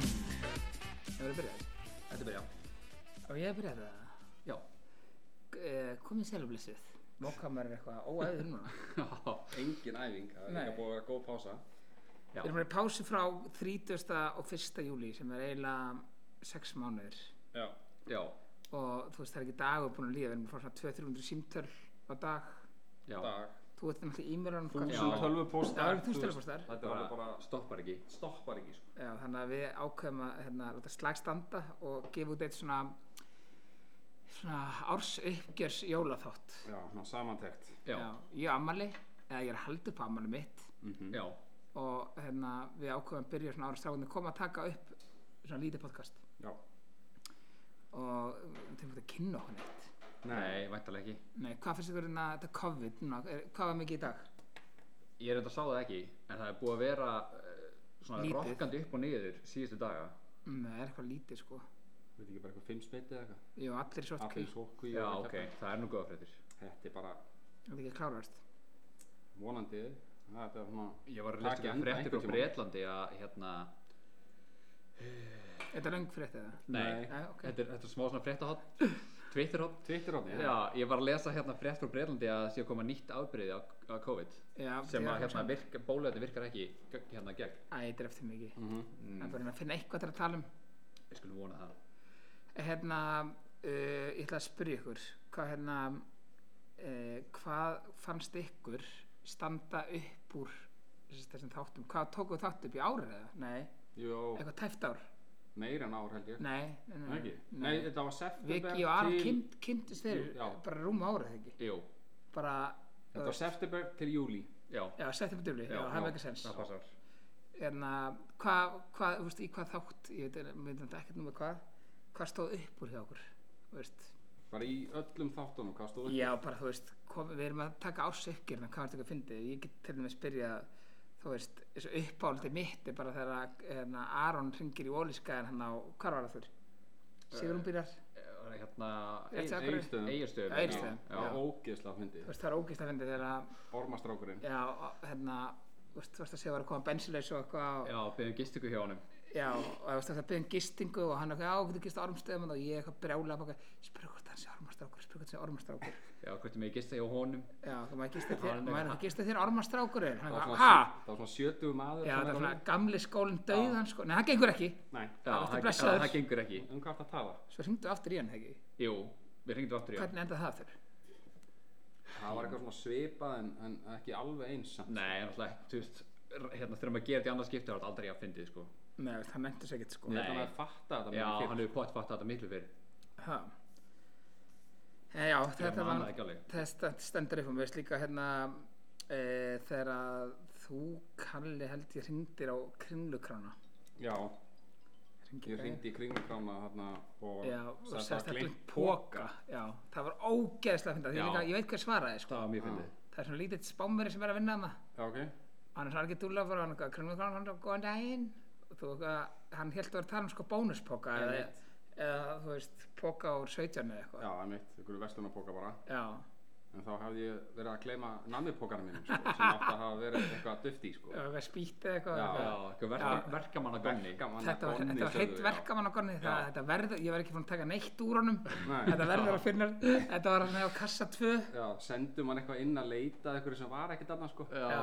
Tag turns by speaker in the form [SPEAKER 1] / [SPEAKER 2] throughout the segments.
[SPEAKER 1] Það verður byrjað.
[SPEAKER 2] Þetta byrja
[SPEAKER 1] Og ég byrjaði það.
[SPEAKER 2] Já
[SPEAKER 1] Eh, Komið sælublessuð. Mókamar er eitthvað óæður núna.
[SPEAKER 2] Engin æfing, það er
[SPEAKER 1] Nei.
[SPEAKER 2] líka búið að vera góð pása Já.
[SPEAKER 1] Við erum að pásu frá 30. og 1. júli sem er eiginlega 6 mánuðir.
[SPEAKER 2] Já Já,
[SPEAKER 1] Og þú veist það er ekki dagur búin að líða. Við erum að fá svona 200-300 símtöl á dag.
[SPEAKER 3] Já,
[SPEAKER 2] dag
[SPEAKER 1] Þú ert náttúrulega í mér hann.
[SPEAKER 3] þúsund
[SPEAKER 2] Já.
[SPEAKER 1] Það
[SPEAKER 3] tölvupóstar
[SPEAKER 1] eru þúsund tölvupóstar.
[SPEAKER 3] Þetta
[SPEAKER 2] Það
[SPEAKER 3] bara,
[SPEAKER 2] er bara,
[SPEAKER 3] stoppar ekki
[SPEAKER 2] stoppar ekki sko.
[SPEAKER 1] Já, þannig að við ákveðum að hérna, láta slag standa og gefa út eitt svona, svona árs uppgjörs jólaþátt.
[SPEAKER 2] Já, svona samantekt
[SPEAKER 3] Já,
[SPEAKER 1] Já, ég er ammali, eða ég er að halda upp ammali mitt
[SPEAKER 2] Mhm.
[SPEAKER 3] já,
[SPEAKER 1] og hérna, við ákveðum að byrja svona ára strákunni koma að taka upp svona lítið podcast
[SPEAKER 2] Já
[SPEAKER 1] og við þurfum að kynna okkur neitt.
[SPEAKER 3] nei, væntalega ekki
[SPEAKER 1] Nei, hvað finnst ykkur hérna þetta COVID núna? Er, hvað var mikið í dag?
[SPEAKER 3] Ég er þetta sá það ekki, en það er búið að vera uh, svona
[SPEAKER 1] Lítið.
[SPEAKER 3] rokkandi upp og niður síðustu daga
[SPEAKER 1] Mm, Það er eitthvað lítið sko.
[SPEAKER 2] Við ekki bara eitthvað fimm smitið eða eitthvað
[SPEAKER 1] Jú, allir svort
[SPEAKER 2] Allir
[SPEAKER 1] kví,
[SPEAKER 2] sókku í
[SPEAKER 3] Já,
[SPEAKER 2] og
[SPEAKER 3] ok,
[SPEAKER 2] kjafta.
[SPEAKER 3] það er nú góða fréttir
[SPEAKER 2] Þetta er bara
[SPEAKER 1] það er ekki klárast.
[SPEAKER 2] vonandi Þetta er svona
[SPEAKER 3] Ég var að
[SPEAKER 2] Taki
[SPEAKER 3] lesa um
[SPEAKER 2] enda
[SPEAKER 3] fréttir
[SPEAKER 2] einhvern
[SPEAKER 3] frá Breitlandi að hérna
[SPEAKER 1] Er þetta löng frétt eða?
[SPEAKER 2] Nei.
[SPEAKER 1] Nei, ok.
[SPEAKER 3] Þetta, er, þetta er smá svona fréttahot, twitterhot
[SPEAKER 2] Twitter átni
[SPEAKER 3] Já, ég var að lesa hérna frétt frá Breitlandi að það sé að koma nýtt afbreyði á, á COVID
[SPEAKER 1] Já,
[SPEAKER 3] sem
[SPEAKER 1] þið-
[SPEAKER 3] að hérna virka, bóluefni virkar ekki gegn- hérna gegn
[SPEAKER 1] um- Æ, þetta er eftir mikið.
[SPEAKER 2] Mhm.
[SPEAKER 1] Það er
[SPEAKER 3] mm,
[SPEAKER 1] bara að finna eitthvað til að tala um.
[SPEAKER 3] Ég skulle vona það
[SPEAKER 1] Hérna, uh, ég ætla að spyrja ykkur, hvað, hérna, uh, hvað fannst ykkur standa upp úr þessi- þessum þáttum? Hvað tókuð þátt upp í árið eða? Nei,
[SPEAKER 2] Jó,
[SPEAKER 1] eitthvað tæft ár?
[SPEAKER 2] meira en ár held ég
[SPEAKER 1] Nei, nei, nei.
[SPEAKER 2] Ekki? Nei,
[SPEAKER 1] nei.
[SPEAKER 2] þetta var september
[SPEAKER 1] Viki og Aron
[SPEAKER 2] til
[SPEAKER 1] kynnt, kynntist
[SPEAKER 2] Jú,
[SPEAKER 1] fyrir
[SPEAKER 2] já.
[SPEAKER 1] bara rúma árið eða ekki?
[SPEAKER 3] Jú,
[SPEAKER 1] Bara,
[SPEAKER 2] Þetta var september til júli
[SPEAKER 3] já,
[SPEAKER 1] já, settum við döfli, já,
[SPEAKER 3] Já,
[SPEAKER 1] það er
[SPEAKER 3] já,
[SPEAKER 1] ekki sens.
[SPEAKER 3] það passar
[SPEAKER 1] Hérna, hvað, hvað, þú veist, í hvað þátt, ég veit, ég veit þetta ekkert nú með hvað, hvað stóð upp úr hjá okkur, þú veist?
[SPEAKER 2] Bara í öllum þáttunum, hvað stóðu
[SPEAKER 1] Já, bara þú veist, kom, við erum að taka ás uppgjörna, hvað er þetta að fyndið? Ég get til dæmis byrja, þú veist, þessu uppáhaldið mitt er bara þegar að, hérna, Aron ringir í ólískaðan hann á, hvað var það þurr? Sigurún byrjar,
[SPEAKER 3] Eh, hérna
[SPEAKER 1] Rétt sagði Akureyri.
[SPEAKER 2] Egilstöðum
[SPEAKER 3] Eigirstöðum
[SPEAKER 1] Já, Egilsstöðum.
[SPEAKER 3] já,
[SPEAKER 2] Já, ógeðslega fyndi
[SPEAKER 1] þú veist, það er ógist að fyndið þegar að,
[SPEAKER 2] Ormastrákurinn
[SPEAKER 1] já, og, hérna, þú veist, þú veist að segja var að koma bensilegs og eitthvað, og-
[SPEAKER 3] já byrjum gistingu hjá honum
[SPEAKER 1] já, og þú veist að byrja um gistingu og hann eitthvað, já, getur gist á ormstöðum og ég eitthvað brjála baka, spyrja hvort hann sé ormastrákur, spyrja hvort hann sé ormastrákur.
[SPEAKER 3] já, hvort er mig gista hjá honum
[SPEAKER 1] Já, þú maður gista þér,
[SPEAKER 3] Hann er-
[SPEAKER 1] maður gista þér ormastrákurinn,
[SPEAKER 2] Það
[SPEAKER 1] hann
[SPEAKER 2] var
[SPEAKER 1] eitthvað,
[SPEAKER 2] svona-
[SPEAKER 1] ha?
[SPEAKER 2] það var svona 70 maður
[SPEAKER 1] Já,
[SPEAKER 2] sem
[SPEAKER 1] það
[SPEAKER 2] er
[SPEAKER 1] er svona
[SPEAKER 2] alveg-
[SPEAKER 1] gamli skólinn dauðan sko. Nei, það gengur ekki.
[SPEAKER 2] Nei,
[SPEAKER 3] já,
[SPEAKER 1] Það ertu
[SPEAKER 3] það,
[SPEAKER 1] blessaður.
[SPEAKER 3] það, það gengur ekki
[SPEAKER 2] um hvað ertu að tala?
[SPEAKER 1] Svo hringdu aftur í hann, ekki?
[SPEAKER 3] jú, við hringdum aftur í hann
[SPEAKER 1] Hvernig endaði það aftur?
[SPEAKER 2] Það var eitthvað svona svipað en, en ekki alveg eins samt.
[SPEAKER 3] nei, náttúrulega, þú veist r- hérna þurfum að gera þetta í annað skipti þá er þetta aldrei að fyndið sko
[SPEAKER 1] Nei, veist, hann endast ekkert sko.
[SPEAKER 2] Ég
[SPEAKER 3] Nei.
[SPEAKER 2] held að hann að fatta þetta
[SPEAKER 3] já,
[SPEAKER 2] mikið fyrr.
[SPEAKER 3] hann hefur pottfatt þetta miklu fyrir
[SPEAKER 1] Ha. Nei, já, þetta
[SPEAKER 3] ég man
[SPEAKER 1] var...
[SPEAKER 3] það ekki alveg
[SPEAKER 1] Þetta stendur upp á mig, veist líka hérna e, þegar að þú, Kalli, held ég hringdir á kringlukrána.
[SPEAKER 2] Já,
[SPEAKER 1] Hringir
[SPEAKER 2] ég ringdi í kringlukrána þarna og
[SPEAKER 1] Já, og
[SPEAKER 2] sagði
[SPEAKER 1] sérst
[SPEAKER 2] það
[SPEAKER 1] allir
[SPEAKER 2] gleymt
[SPEAKER 1] póka. Já, það var ógeðslega að finna.
[SPEAKER 3] Já.
[SPEAKER 1] Líka, ég veit hver svaraði sko.
[SPEAKER 3] það var mjög fyndið
[SPEAKER 1] Það er svona lítill spámeri sem er að vinna hana.
[SPEAKER 2] Já, ok.
[SPEAKER 1] hann er svona alveg dúlega bara hann eitthvað kringlukrána hann er góðan daginn og þú eitthvað, hann held að vera að tala um sko bónuspoka eða,
[SPEAKER 2] Einmitt.
[SPEAKER 1] eða þú veist, poka úr 17 eða eitthvað
[SPEAKER 2] Já, það er mitt, ykkur vestunarpóka bara.
[SPEAKER 1] já,
[SPEAKER 2] En þá hafði ég verið að gleyma namipókanum mínum, sko, sem átti að hafa verið eitthvað að dufti, í, sko.
[SPEAKER 1] eða eitthvað spýtt eða eitthvað
[SPEAKER 2] Já.
[SPEAKER 3] já,
[SPEAKER 1] eitthvað.
[SPEAKER 3] eitthvað verka, verkamann að gönni
[SPEAKER 2] Verkamanna
[SPEAKER 1] Þetta var,
[SPEAKER 2] Gonni
[SPEAKER 1] þetta var heitt
[SPEAKER 2] sögðu, já.
[SPEAKER 1] verkamann á gonni, það,
[SPEAKER 2] Já.
[SPEAKER 1] þetta verður, ég var ekki fann að taka neitt úr honum,
[SPEAKER 2] Nei.
[SPEAKER 1] þetta verður að finna, þetta var hann á kassa 2,
[SPEAKER 2] Já, sendum hann eitthvað inn að leita eitthvað sem var ekkert annað, sko.
[SPEAKER 3] já,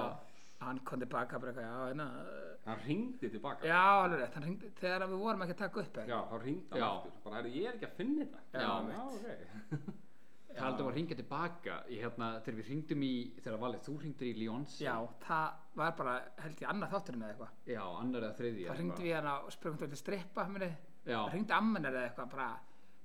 [SPEAKER 1] hann kom tilbaka bara eitthvað, já, hérna, uh,
[SPEAKER 2] Hann ringdi tilbaka.
[SPEAKER 1] já, alveg rétt, hann hringdi, þegar að við vorum ekki að taka upp eitthvað,
[SPEAKER 2] Já, þá ringdi hann
[SPEAKER 3] Já.
[SPEAKER 2] aftur. Bara, heyrðu, ég er ekki að finna þetta.
[SPEAKER 3] Já,
[SPEAKER 2] já, ok.
[SPEAKER 3] talaðum að ringja tilbaka í hérna, þegar við ringdum í þegar valið, þú ringdur í Lyons
[SPEAKER 1] já, það var bara, held ég, annað þátturinn eða eitthvað,
[SPEAKER 3] já, annar eða þriðji
[SPEAKER 1] þá
[SPEAKER 3] eða
[SPEAKER 1] hringdi
[SPEAKER 3] eitthvað.
[SPEAKER 1] við hana og spurðum hvernig strippa minni,
[SPEAKER 3] Já.
[SPEAKER 1] hringdi ammennar eða eitthvað bara,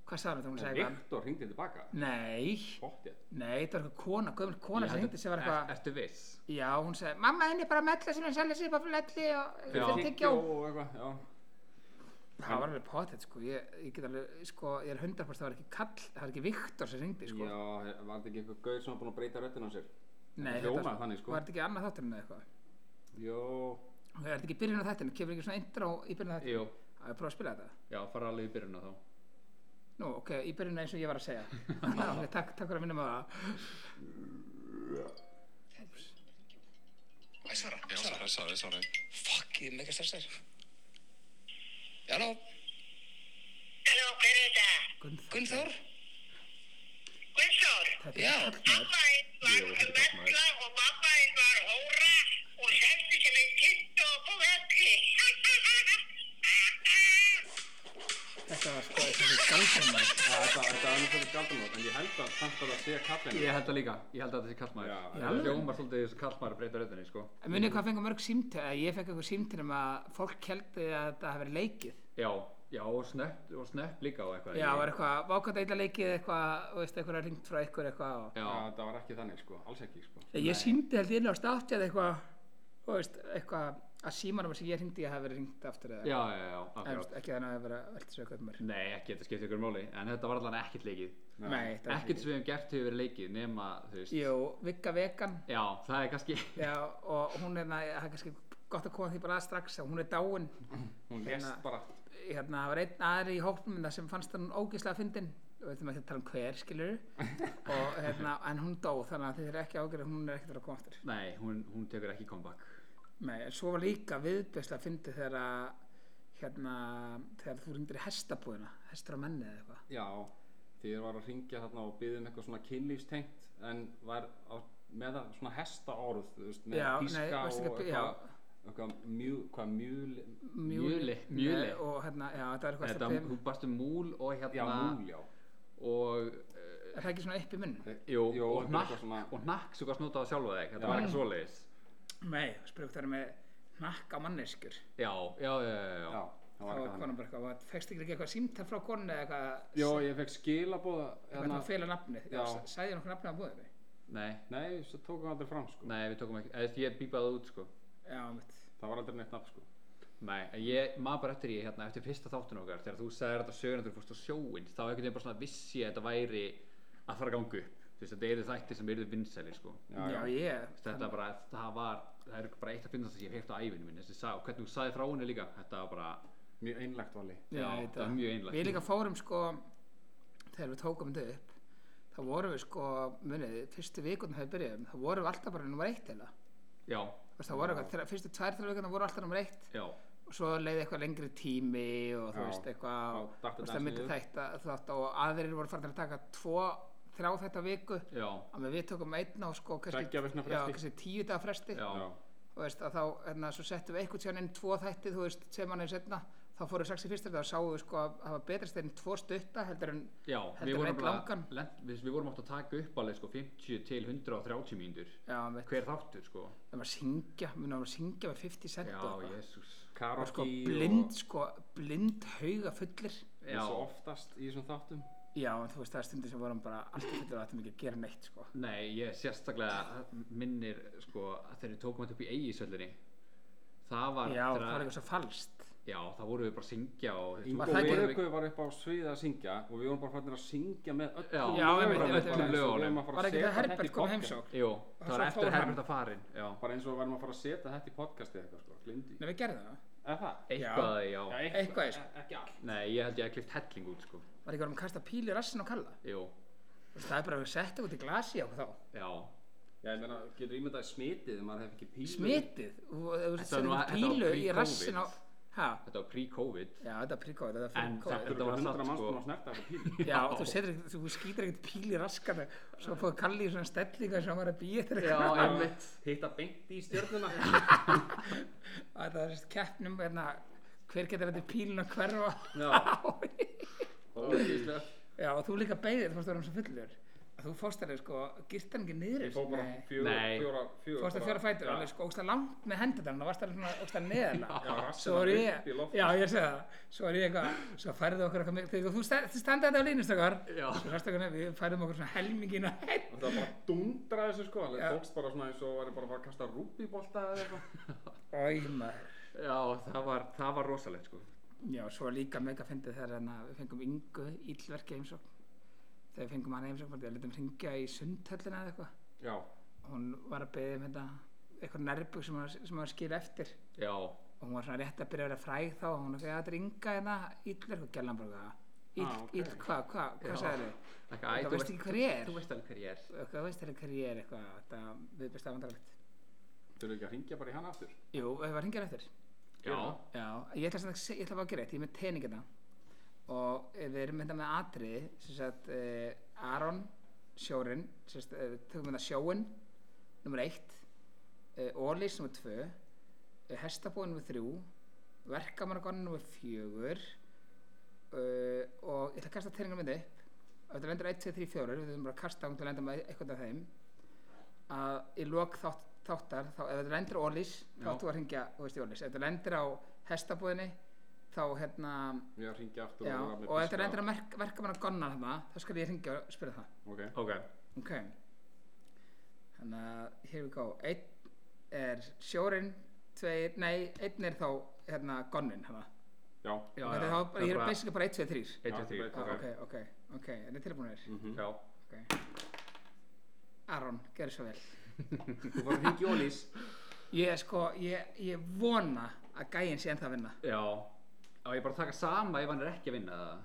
[SPEAKER 1] hvað sagði hún, hún sagði eitthvað
[SPEAKER 2] Viktor ringdi tilbaka.
[SPEAKER 1] nei,
[SPEAKER 2] Pottið.
[SPEAKER 1] nei, þetta var eitthvað kona, gömul kona
[SPEAKER 3] Ég
[SPEAKER 1] sem
[SPEAKER 3] held
[SPEAKER 1] hringdi sem var
[SPEAKER 3] að-
[SPEAKER 1] eitthvað,
[SPEAKER 3] er- Ertu viss?
[SPEAKER 1] já, hún sagði mamma henni er bara að mella sem henni selja sér upp á fletti og
[SPEAKER 3] Já.
[SPEAKER 1] fyrir tyggjó
[SPEAKER 2] og eitthvað, já.
[SPEAKER 1] það var alveg potið sko ég, ég get alveg, sko, ég er 100% það var ekki kall, það var ekki Viktor sem ringdi sko
[SPEAKER 2] Já, var þetta ekki eitthvað gaur sem var búin að breyta röddina á sér?
[SPEAKER 1] Nei,
[SPEAKER 2] þetta hljómaði þannig, sko.
[SPEAKER 1] var þetta ekki annað þátturinn eða eitthvað
[SPEAKER 2] Jó,
[SPEAKER 1] Það er þetta ekki byrjun á þetta, kemur ekki svona intro í byrjun á þetta
[SPEAKER 3] Jú,
[SPEAKER 1] Það er prófa að spila þetta
[SPEAKER 3] já, fara alveg í byrjun á þá.
[SPEAKER 1] Nú, ok, í byrjun eins og ég var að segja Já, ok, Takk, takk fyrir að minna maður það
[SPEAKER 4] Æ, svara,
[SPEAKER 5] Já, sorry, sorry, sorry.
[SPEAKER 4] Fuck, ég er mega stressaður. Halló,
[SPEAKER 6] Halló, hver er þetta?
[SPEAKER 1] Gunnþór,
[SPEAKER 4] Gunnþór?
[SPEAKER 6] Gunnþór?
[SPEAKER 1] þetta
[SPEAKER 4] Já.
[SPEAKER 1] er kallmaður
[SPEAKER 6] Mamma
[SPEAKER 3] Jú,
[SPEAKER 6] einn
[SPEAKER 3] þetta
[SPEAKER 6] var
[SPEAKER 3] er
[SPEAKER 6] verkla og mamma einn var hóra og seldi sem einn kitt og búið öllu.
[SPEAKER 1] Þetta var sko, þetta er galdramaður
[SPEAKER 2] ja, þetta, þetta er nú svolítið galdanótt, en ég held að samt að það sé kallin.
[SPEAKER 3] Ég held það líka, ég held að þetta sé kallmaður.
[SPEAKER 2] Já,
[SPEAKER 3] Já,
[SPEAKER 1] alveg?
[SPEAKER 3] hljómar svolítið þessu kallmaður að breyta röddinni, sko.
[SPEAKER 1] En munið hvað fengið mörg símtöl, eða ég fekk eitthvað símtöl um að fólk heldi að þetta hafi verið leikið.
[SPEAKER 3] Já, já, og snöpp, og snöpp líka og eitthvað.
[SPEAKER 1] Já,
[SPEAKER 3] Ég-
[SPEAKER 1] var eitthvað, vákvæmt eitthvað leikið eitthvað, þú veist, eitthvað ringt frá eitthvað eitthvað og...
[SPEAKER 3] Já,
[SPEAKER 2] Já, þetta var ekki þannig, sko, alls ekki, sko.
[SPEAKER 1] Ég, ég símdi held ég inn á státti að eitthvað, þú veist, eitthvað að símanum sem ég ringdi að hafi verið ringt aftur eða
[SPEAKER 3] já, já, já,
[SPEAKER 1] En, þú veist,
[SPEAKER 3] akkurát.
[SPEAKER 1] ekki þannig að það hafi verið að velta sögum upp mér.
[SPEAKER 3] Nei, ekki, þetta skiptir ykkur máli, en þetta var allan ekkert leikið.
[SPEAKER 1] Nei, þetta var
[SPEAKER 3] Ekkert sem við hefum gert hefur verið leikið, nema, þú veist.
[SPEAKER 1] Jú, Vigga Vegan,
[SPEAKER 3] Já, það er kannski,
[SPEAKER 1] já, og hún er, það er kannski gott að koma því bara að strax að hún er dáin.
[SPEAKER 2] Hún lest
[SPEAKER 1] Hérna-
[SPEAKER 2] bara.
[SPEAKER 1] Hérna, það var einn aðri í hópnum það sem fannst hann ógeðslega fyndin. Við veitum ekki að tala um hver, skilur og hérna, en hún dó, þannig að þið er ekki ágjörð, hún er ekkert að fara að koma aftur.
[SPEAKER 3] nei, hún, hún tekur ekki comeback.
[SPEAKER 1] Nei, en svo var líka viðbjöðslega fyndið þegar að, hérna, þegar þú ringdir í hestabúðina, hestur á menni eða eitthvað.
[SPEAKER 2] Já, því ég var að ringja þarna og byggði um eitthvað svona kynlífstengt, en var á, með það svona hesta orð, þú veist, með
[SPEAKER 1] Já, nei,
[SPEAKER 2] tíska
[SPEAKER 1] varstu ekki
[SPEAKER 2] og
[SPEAKER 1] að bi- já.
[SPEAKER 2] eitthvað, eitthvað mjú, hvað mjúli,
[SPEAKER 3] Mjöli, mjöli.
[SPEAKER 1] Nei, og hérna, já, þetta var eitthvað
[SPEAKER 3] Þetta,
[SPEAKER 1] sem
[SPEAKER 3] hún barstu múl og hérna...
[SPEAKER 2] já, múl, já.
[SPEAKER 3] Og,
[SPEAKER 1] er það ekki svona upp í munn?
[SPEAKER 3] jú,
[SPEAKER 2] Jú,
[SPEAKER 3] og
[SPEAKER 2] þetta er
[SPEAKER 3] hnakk,
[SPEAKER 2] eitthvað svona-
[SPEAKER 3] og hnakk svo hvað snútaði sjálfa þig, þetta
[SPEAKER 2] Já.
[SPEAKER 3] var eitthvað svoleiðis.
[SPEAKER 1] Nei, spyrjum það er með nakka manneskjur.
[SPEAKER 3] Já, já, já, já, já.
[SPEAKER 2] Já, það
[SPEAKER 1] Þá
[SPEAKER 2] var
[SPEAKER 1] var
[SPEAKER 2] eitthvað
[SPEAKER 1] konan
[SPEAKER 2] þannig.
[SPEAKER 1] bara eitthvað, "Hvað, fékkstu ekki eitthvað símtal frá konu eða eitthvað,
[SPEAKER 2] Jó, ég hérna- fekk skilabóða,
[SPEAKER 1] eitthvað að fela nafnið, já,
[SPEAKER 2] Já.
[SPEAKER 1] s- sagði ég nokkuð nafnið á búðinni?
[SPEAKER 3] Nei,
[SPEAKER 2] nei, svo tókum við aldrei fram, sko.
[SPEAKER 3] nei, við tókum ekki, eða þú veist, ég bíbaði það út, sko.
[SPEAKER 1] Já, mitt.
[SPEAKER 2] Það var aldrei neitt nafn, sko.
[SPEAKER 3] Nei, en ég maður bara eftir ég hérna eftir fyrsta þáttun okkar þegar þú sagðir þetta sögurinn þegar þú fórst á sjóinn þá einhvern veginn bara svona vissi ég að þetta væri að fara að ganga upp þú veist þetta eru þættir sem eru vinsælir sko Þú
[SPEAKER 1] Já, ég,
[SPEAKER 3] veist, þetta bara það var það er bara eitt af finnast sem ég hef heyrt á æfinu minni þessi sag og hvernig þú sagði frá henni líka þetta var bara
[SPEAKER 2] Mjög einlægt vali.
[SPEAKER 1] Já,
[SPEAKER 3] Já,
[SPEAKER 1] ég veit
[SPEAKER 3] það var mjög einlægt.
[SPEAKER 1] Við líka fórum sko, þegar við tókum þetta upp, þá vorum við sko, munið, fyrstu vikundum þegar við byrjuðum, þá vorum við alltaf bara nummer eitt hérna. eða.
[SPEAKER 3] já
[SPEAKER 1] Það voru eitthvað, þegar- fyrstu tvær, þrjá vikundum voru alltaf nummer eitt
[SPEAKER 3] já
[SPEAKER 1] og svo leiði eitthvað lengri tími og þú
[SPEAKER 2] Já.
[SPEAKER 1] veist eitthvað,
[SPEAKER 2] Þá datt
[SPEAKER 1] þú veist
[SPEAKER 2] þetta
[SPEAKER 1] það
[SPEAKER 2] aðeins
[SPEAKER 1] myndi
[SPEAKER 2] niður.
[SPEAKER 1] þætt að þátt og aðrir voru farin að taka tvo, þrjá þetta viku.
[SPEAKER 3] já
[SPEAKER 1] Þannig að við tókum einn á sko, kannski,
[SPEAKER 2] Tveggja vikna
[SPEAKER 1] já,
[SPEAKER 2] fresti.
[SPEAKER 1] kannski tíu daga fresti
[SPEAKER 3] já
[SPEAKER 2] Já.
[SPEAKER 1] þú veist, að þá, hérna, svo settum við einhvern tíðan inn tvo þætti, þú veist, sem hann er setna þá fórum við strax í fyrstu, þá sáum við sko að hafa betrast einn tvo stutta, heldur en
[SPEAKER 3] já
[SPEAKER 1] Heldur einn
[SPEAKER 3] bara
[SPEAKER 1] langan.
[SPEAKER 3] lent, við, við vorum átt að taka upp alveg sko 50 til 130 mínútur
[SPEAKER 1] já, við
[SPEAKER 3] hver þáttur sko
[SPEAKER 1] erum að syngja, við erum að syngja með 50 cent
[SPEAKER 3] já
[SPEAKER 1] og eitthvað.
[SPEAKER 3] jésús
[SPEAKER 1] og
[SPEAKER 2] Karaoke
[SPEAKER 1] sko blind, sko, blind hauga fullir
[SPEAKER 2] og
[SPEAKER 3] já
[SPEAKER 2] eins og oftast í þessum þáttum.
[SPEAKER 1] já, en þú veist, það er stundir sem vorum bara allt í fullir og ættum ekki að gera neitt, sko
[SPEAKER 3] Nei, ég sérstaklega minnir sko að þegar við tókum þetta upp í eigisöllinni það var
[SPEAKER 1] já, það var
[SPEAKER 3] þegar-
[SPEAKER 1] eitthvað svo falskt
[SPEAKER 3] já, það voru við bara að syngja og þú
[SPEAKER 2] Ingo
[SPEAKER 1] Var það ekki-
[SPEAKER 2] Veku var upp á sviði að syngja og við vorum bara fannir að syngja með
[SPEAKER 3] Já.
[SPEAKER 2] öllum
[SPEAKER 3] Já,
[SPEAKER 1] einmitt,
[SPEAKER 2] bara
[SPEAKER 1] einmitt,
[SPEAKER 2] eins og
[SPEAKER 1] einmitt.
[SPEAKER 2] við vorum að fara
[SPEAKER 1] var
[SPEAKER 2] að
[SPEAKER 1] ekki
[SPEAKER 2] setja
[SPEAKER 1] það
[SPEAKER 2] þetta í
[SPEAKER 1] Herbert kom
[SPEAKER 2] podcast.
[SPEAKER 1] heimsók
[SPEAKER 3] jú, það var
[SPEAKER 1] svo fór
[SPEAKER 3] eftir
[SPEAKER 1] hann.
[SPEAKER 3] Herbert að farin já,
[SPEAKER 2] Bara eins og við varum að fara að setja þetta í podcasti eitthvað sko, glindi.
[SPEAKER 1] nei, við gerðum það,
[SPEAKER 2] Er það?
[SPEAKER 3] eitthvað, já,
[SPEAKER 2] Já,
[SPEAKER 1] Eitthvað, sko.
[SPEAKER 2] e- Ekki allt.
[SPEAKER 3] Nei, ég held ég að klift helling út sko
[SPEAKER 1] var ekki varum að kasta píli í rassin og kalla
[SPEAKER 3] Jú,
[SPEAKER 1] Þú veist, það er bara að setja út í glasi á þá
[SPEAKER 3] já
[SPEAKER 2] Já, ég meina, getur ímyndað smitið ef maður hef ekki pílu.
[SPEAKER 1] smitið og ef þú
[SPEAKER 3] var
[SPEAKER 1] setjum
[SPEAKER 3] nú- þetta var
[SPEAKER 1] pílu í
[SPEAKER 3] pre-COVID.
[SPEAKER 1] rassin á hæ,
[SPEAKER 3] Þetta var pre-covid
[SPEAKER 1] já þetta er príkóð þetta er fyrir
[SPEAKER 3] En
[SPEAKER 2] Þetta
[SPEAKER 1] COVID
[SPEAKER 2] eru
[SPEAKER 3] var
[SPEAKER 2] ekki
[SPEAKER 3] samt,
[SPEAKER 2] hundra manns
[SPEAKER 3] sko.
[SPEAKER 2] búin að snerta þessa pílu.
[SPEAKER 1] já þú setur ekkert, þú skýtir ekkert píl í raskan og svo fóðu kalli í svona stellinga sem hann var að býja þér eitthvað.
[SPEAKER 3] einmitt
[SPEAKER 2] Hitta beint í stjörnuna.
[SPEAKER 1] að það er sérst keppnum hérna, hver getur þetta pílun að hverfa
[SPEAKER 2] Já. Ógeðslega.
[SPEAKER 1] já og þú líka beigðir þú fórst að vera um svo fullur að þú fórst að sko girtan ekki niður
[SPEAKER 2] Ég fór bara
[SPEAKER 1] Nei.
[SPEAKER 2] fjóra,
[SPEAKER 3] Nei.
[SPEAKER 2] fjóra, fjóra.
[SPEAKER 1] Þú varst að fjóra fætur,
[SPEAKER 2] Já.
[SPEAKER 1] alveg sko, ógst að langt með hendur þannig, þú varst alveg svona ógst að neðla.
[SPEAKER 2] Já, rassinn
[SPEAKER 1] svo er
[SPEAKER 2] var
[SPEAKER 1] ég,
[SPEAKER 2] upp í loft.
[SPEAKER 1] já ég segi það, svo er ég eitthvað, svo færðu okkur eitthvað mikið, þegar þú stand- þið standið þetta á línustökar,
[SPEAKER 3] Já.
[SPEAKER 1] svo færðu okkur, við færðum okkur svona helmingin að henn.
[SPEAKER 2] Og það bara dundraði þessu sko, alveg
[SPEAKER 1] Já.
[SPEAKER 2] tókst bara svona eins og væri bara að fara að kasta rúbíbolta eða eitthvað.
[SPEAKER 1] Æ maður,
[SPEAKER 3] Já, það var, það var rosalegt sko
[SPEAKER 1] Já, svo er líka mega fyndið þegar hérna við fengum yngu íllverki heimsókn. sko. Þegar við fengum hann heimsókn, þegar við letum hringja í sundhöllina eða eitthvað.
[SPEAKER 2] Já,
[SPEAKER 1] Hún var að beðið um hérna eitthvað nærbúk sem hún var- sem hún var að skilja eftir.
[SPEAKER 3] Já,
[SPEAKER 1] Og hún var svona rétt að byrja að vera fræg þá og hún var að segja að ringa hérna íllverk og gælan bara eitthvað. Ill,
[SPEAKER 2] Ah, ok.
[SPEAKER 1] ill, hvað, hvað,
[SPEAKER 3] Já.
[SPEAKER 1] hvað sagði þau?
[SPEAKER 3] Þakka, æ,
[SPEAKER 1] Þú veist ekki hver ég er.
[SPEAKER 3] Þú veist alveg hver ég er.
[SPEAKER 1] Hvað veist þér hver ég er eitthvað, þetta viðbyrst afandarlegt.
[SPEAKER 2] þurfum við ekki að ringja bara í hann aftur
[SPEAKER 1] Jú, við varum hringjar eftir.
[SPEAKER 3] Já,
[SPEAKER 1] Já, ég ætla, samt að, se- ég ætla bara að gera eitt, ég er með teningina og eh, við erum mynda með atriði, sem sagt uh, Aron, sjórin, sem sagt, uh, tökum við það sjóin, nummer eitt, uh, Ólís, nummer tvö, uh, Hestabóin, nummer þrjú, Verkamannagonu, nummer fjögur uh, og ég ætla að kasta teningina mynd upp og þetta vendur 1, 2, 3, 4, við þurfum bara að kasta um til að lenda með eitthvað af þeim að í lok þátt, þáttar þá, ef þetta lendir á Ólís þá
[SPEAKER 2] Já.
[SPEAKER 1] áttu að ringja og veist í Ólís ef þetta lendir á hestabúðinni þá hérna
[SPEAKER 2] Við að ringja aftur
[SPEAKER 1] já,
[SPEAKER 2] og vera með
[SPEAKER 1] og ef þetta
[SPEAKER 2] diska.
[SPEAKER 1] lendir á merk, verkamann að gonna þarna þá skal ég ringja og spyrja það
[SPEAKER 2] Ok,
[SPEAKER 3] ok.
[SPEAKER 1] ok þannig að here we go einn er sjórinn tveir, nei, einn er þá hérna gonnin hana
[SPEAKER 2] já,
[SPEAKER 3] Já,
[SPEAKER 1] þetta er þá, bara- ég er basically bara 1, 2, 3
[SPEAKER 3] Eitt og
[SPEAKER 2] Já,
[SPEAKER 3] þrjú.
[SPEAKER 2] þetta
[SPEAKER 1] ok,
[SPEAKER 2] Ok.
[SPEAKER 1] ok, ok, ok, en þið tilbúinir
[SPEAKER 2] mhm
[SPEAKER 3] Já.
[SPEAKER 1] ok Aron, gerðu svo vel
[SPEAKER 2] Þú var að ringja í Ólís
[SPEAKER 1] Ég sko, ég, ég vona að gæinn sé ennþá að vinna.
[SPEAKER 3] Já. Á ég bara að taka sama ef hann er ekki að vinna það?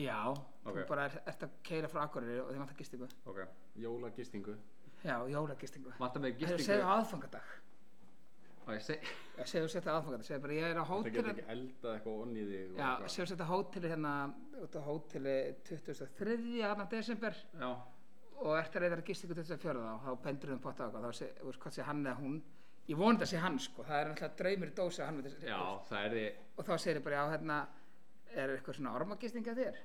[SPEAKER 1] Já.
[SPEAKER 3] Ok.
[SPEAKER 1] Þú bara er, ert að keira frá Akureyri og þið vantar gistingu.
[SPEAKER 3] Ok.
[SPEAKER 2] Jólagistingu
[SPEAKER 1] Já, jólagistingu.
[SPEAKER 3] Vantar mig
[SPEAKER 1] Þegar
[SPEAKER 3] gistingu.
[SPEAKER 1] þú segðu aðfangadag.
[SPEAKER 3] Á ég seg...
[SPEAKER 1] Já, segðu þú setja aðfangadag. Segðu bara, ég er á
[SPEAKER 2] Það getur
[SPEAKER 1] hóteli.
[SPEAKER 2] ekki eldað eitthvað onni í þig og
[SPEAKER 1] Já,
[SPEAKER 2] eitthvað.
[SPEAKER 1] segðu þú setja hóteli hérna, út á hóteli 23. hérna desember
[SPEAKER 3] Já.
[SPEAKER 1] og ert að reyða að gistingu 24. þá, þá pendur um potta á okkar. Þá sé, þú veist, hvað sé hann eða hún. Ég vona þetta sé hann sko, það er alltaf draumur í dósi að hann veit
[SPEAKER 3] Já, það er því...
[SPEAKER 1] Og þá segir ég bara, já, hérna, er eitthvað svona ormagistinga þér?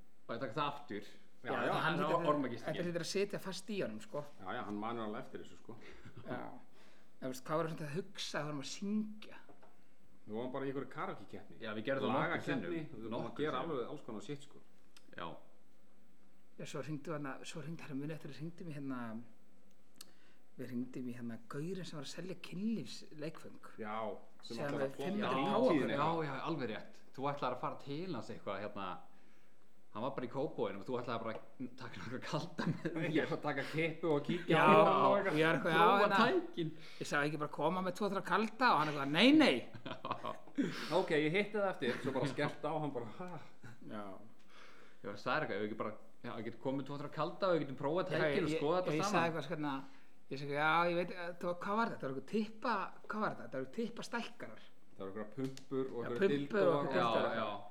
[SPEAKER 3] Á ég að taka það aftur?
[SPEAKER 2] Já, já,
[SPEAKER 1] hann
[SPEAKER 3] hann á
[SPEAKER 1] hlýtur- Þetta
[SPEAKER 3] ormagistingin.
[SPEAKER 1] hlýtur að sitja fast í honum, sko.
[SPEAKER 2] já, já, hann manur alveg eftir þessu sko
[SPEAKER 1] Já. En veist, hvað var þetta að hugsa þegar við varum að syngja?
[SPEAKER 2] Við varum bara í einhverju karaoke-keppni
[SPEAKER 3] Já, við gerðum það nokkur sinnum.
[SPEAKER 2] Lagakeppni, við varum að
[SPEAKER 3] Nokkrum
[SPEAKER 2] gera
[SPEAKER 3] sinnum.
[SPEAKER 2] alveg alls konar shit sko
[SPEAKER 3] Já.
[SPEAKER 1] Já, svo hringdu hérna, svo hringdu hérna muni eftir að hringdu mér hérna, við hringdum í hérna gaurinn sem var að selja kynlífs leikfeng.
[SPEAKER 2] Já,
[SPEAKER 1] Sem
[SPEAKER 2] ætlar
[SPEAKER 1] við fimm Þetta
[SPEAKER 3] Já,
[SPEAKER 1] er
[SPEAKER 2] framtíðinni
[SPEAKER 1] páfagaukur.
[SPEAKER 3] já,
[SPEAKER 2] eitthvað.
[SPEAKER 3] já, alveg rétt. Þú ætlar að fara til hans eitthvað hérna. Hann var bara í kópóinum og þú ætlaði bara að taka náttúrulega kalda með
[SPEAKER 2] Ég ætla að taka kippu og kíkja
[SPEAKER 1] Já,
[SPEAKER 2] á
[SPEAKER 1] já, já,
[SPEAKER 2] og eitthvað.
[SPEAKER 1] ég var eitthvað, já,
[SPEAKER 3] Prófa
[SPEAKER 1] hérna,
[SPEAKER 3] tækin.
[SPEAKER 1] ég sagði ekki bara koma með tvo þrjá kalda og hann eitthvað, nei, nei.
[SPEAKER 2] Ok, ég hitti það eftir, svo bara skellt á hann bara "Ha,
[SPEAKER 1] Já.
[SPEAKER 3] Ég var að sagði eitthvað, ef við ekki bara, já, við getum komið tóttur að kalda og við getum prófað tækin og
[SPEAKER 1] ég-
[SPEAKER 3] skoða
[SPEAKER 1] ég-
[SPEAKER 3] þetta
[SPEAKER 1] Ég sagði
[SPEAKER 3] saman.
[SPEAKER 1] eitthvað svona, ég sagði, já, ég veit, eh, þú- hvað var þetta? Það var eitthvað tippa, hvað var þetta? Það var eitthvað tippa stækkarar.
[SPEAKER 2] Það eru einhverja pumpur og
[SPEAKER 1] Já,
[SPEAKER 2] einhverja
[SPEAKER 1] pumpur
[SPEAKER 2] dildo
[SPEAKER 1] og
[SPEAKER 2] og
[SPEAKER 1] eitthvað
[SPEAKER 2] eitthvað.
[SPEAKER 1] dildo.
[SPEAKER 3] Já, já,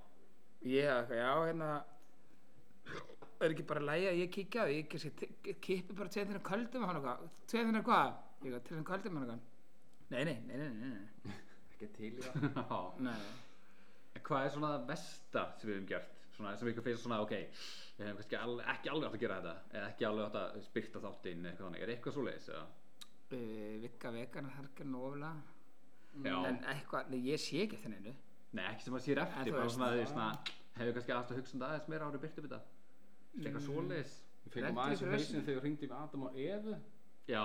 [SPEAKER 1] Ég hafði eitthvað, já, hérna er ekki bara að lægja, ég kíkja á því, ég kannski ti- kippi bara tveið þennan köldum og hann eitthvað, tveið þennan hvað? Ég eitthvað, tveið þennan köldum og hann eitthvað Nei, nei, nei, nei, nei, nei,
[SPEAKER 2] Ekki til í það.
[SPEAKER 3] já.
[SPEAKER 1] nei.
[SPEAKER 3] En Hvað er svona það versta sem við hefum gert? Svona sem ykkur finnst svona, ok, við hefum kannski al ekki alveg átt að gera þetta, eða ekki alveg átt að spyrta þáttinn eða eitthvað þannig. Er eitthvað svoleiðis eða?
[SPEAKER 1] Uh, Vigga vegana, það er ekki nógulega En
[SPEAKER 3] Já.
[SPEAKER 1] eitthvað, nei, ég sé ekki eftir neinu
[SPEAKER 3] Nei, ekki sem að sér
[SPEAKER 1] En
[SPEAKER 3] eftir,
[SPEAKER 1] þú
[SPEAKER 3] bara
[SPEAKER 1] veist-
[SPEAKER 3] svona, því svona, hefur kannski aðast að hugsa um það aðeins meira árið byrtu þetta. Eitthvað svoleiðis.
[SPEAKER 2] Við fengum
[SPEAKER 1] Lentu
[SPEAKER 2] aðeins í
[SPEAKER 1] ykkur í
[SPEAKER 2] hausinn þegar við ringdum í Adam og Evu.
[SPEAKER 3] Já,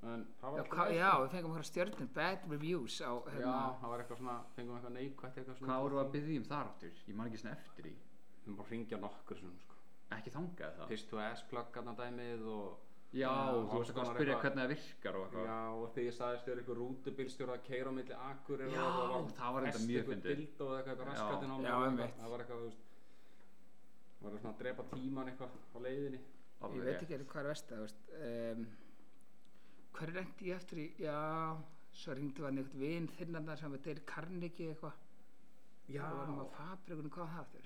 [SPEAKER 2] En það var
[SPEAKER 1] Já,
[SPEAKER 2] allt
[SPEAKER 1] hva,
[SPEAKER 2] í lagi,
[SPEAKER 1] já,
[SPEAKER 2] sko.
[SPEAKER 1] við fengum okkur stjörnum, bad reviews á,
[SPEAKER 2] Já,
[SPEAKER 1] hérna
[SPEAKER 2] það var eitthvað svona, fengum eitthvað neikvætt eitthvað svona.
[SPEAKER 3] hvað voru að byggja um þar áttur? Ég man ekki svona eftir því.
[SPEAKER 2] Við erum bara að ringja nokkur svona, sko.
[SPEAKER 3] Ekki þangað það.
[SPEAKER 2] Piss to ass plug aðna dæmið og...
[SPEAKER 3] Já, þú
[SPEAKER 2] alls
[SPEAKER 3] varst eitthvað að
[SPEAKER 2] konar
[SPEAKER 3] spyrja
[SPEAKER 2] eitthvað-
[SPEAKER 3] hvernig það virkar og eitthvað.
[SPEAKER 2] Já, og þegar ég sagðist þér eitthvað rútubílstjóra að keira á milli akkur
[SPEAKER 3] Já, það var enda mjög fyndið.
[SPEAKER 2] Dildo eða eitthvað, eitthvað
[SPEAKER 3] Já.
[SPEAKER 2] raskatinn á
[SPEAKER 1] Já,
[SPEAKER 2] og
[SPEAKER 1] einmitt.
[SPEAKER 2] eitthvað. Það var eitthvað, þú veist, það var svona að drepa tíman eitthvað á leiðinni.
[SPEAKER 1] Ég veit ekki hvað er versta, þú veist um, Hver reyndi ég eftir í, já Svo ringdu hann einhvern vin þinnan þar sem við deyri Carnegie eitthvað
[SPEAKER 2] Já.
[SPEAKER 1] Það var nú að fabrikunum, hvað var það aftur?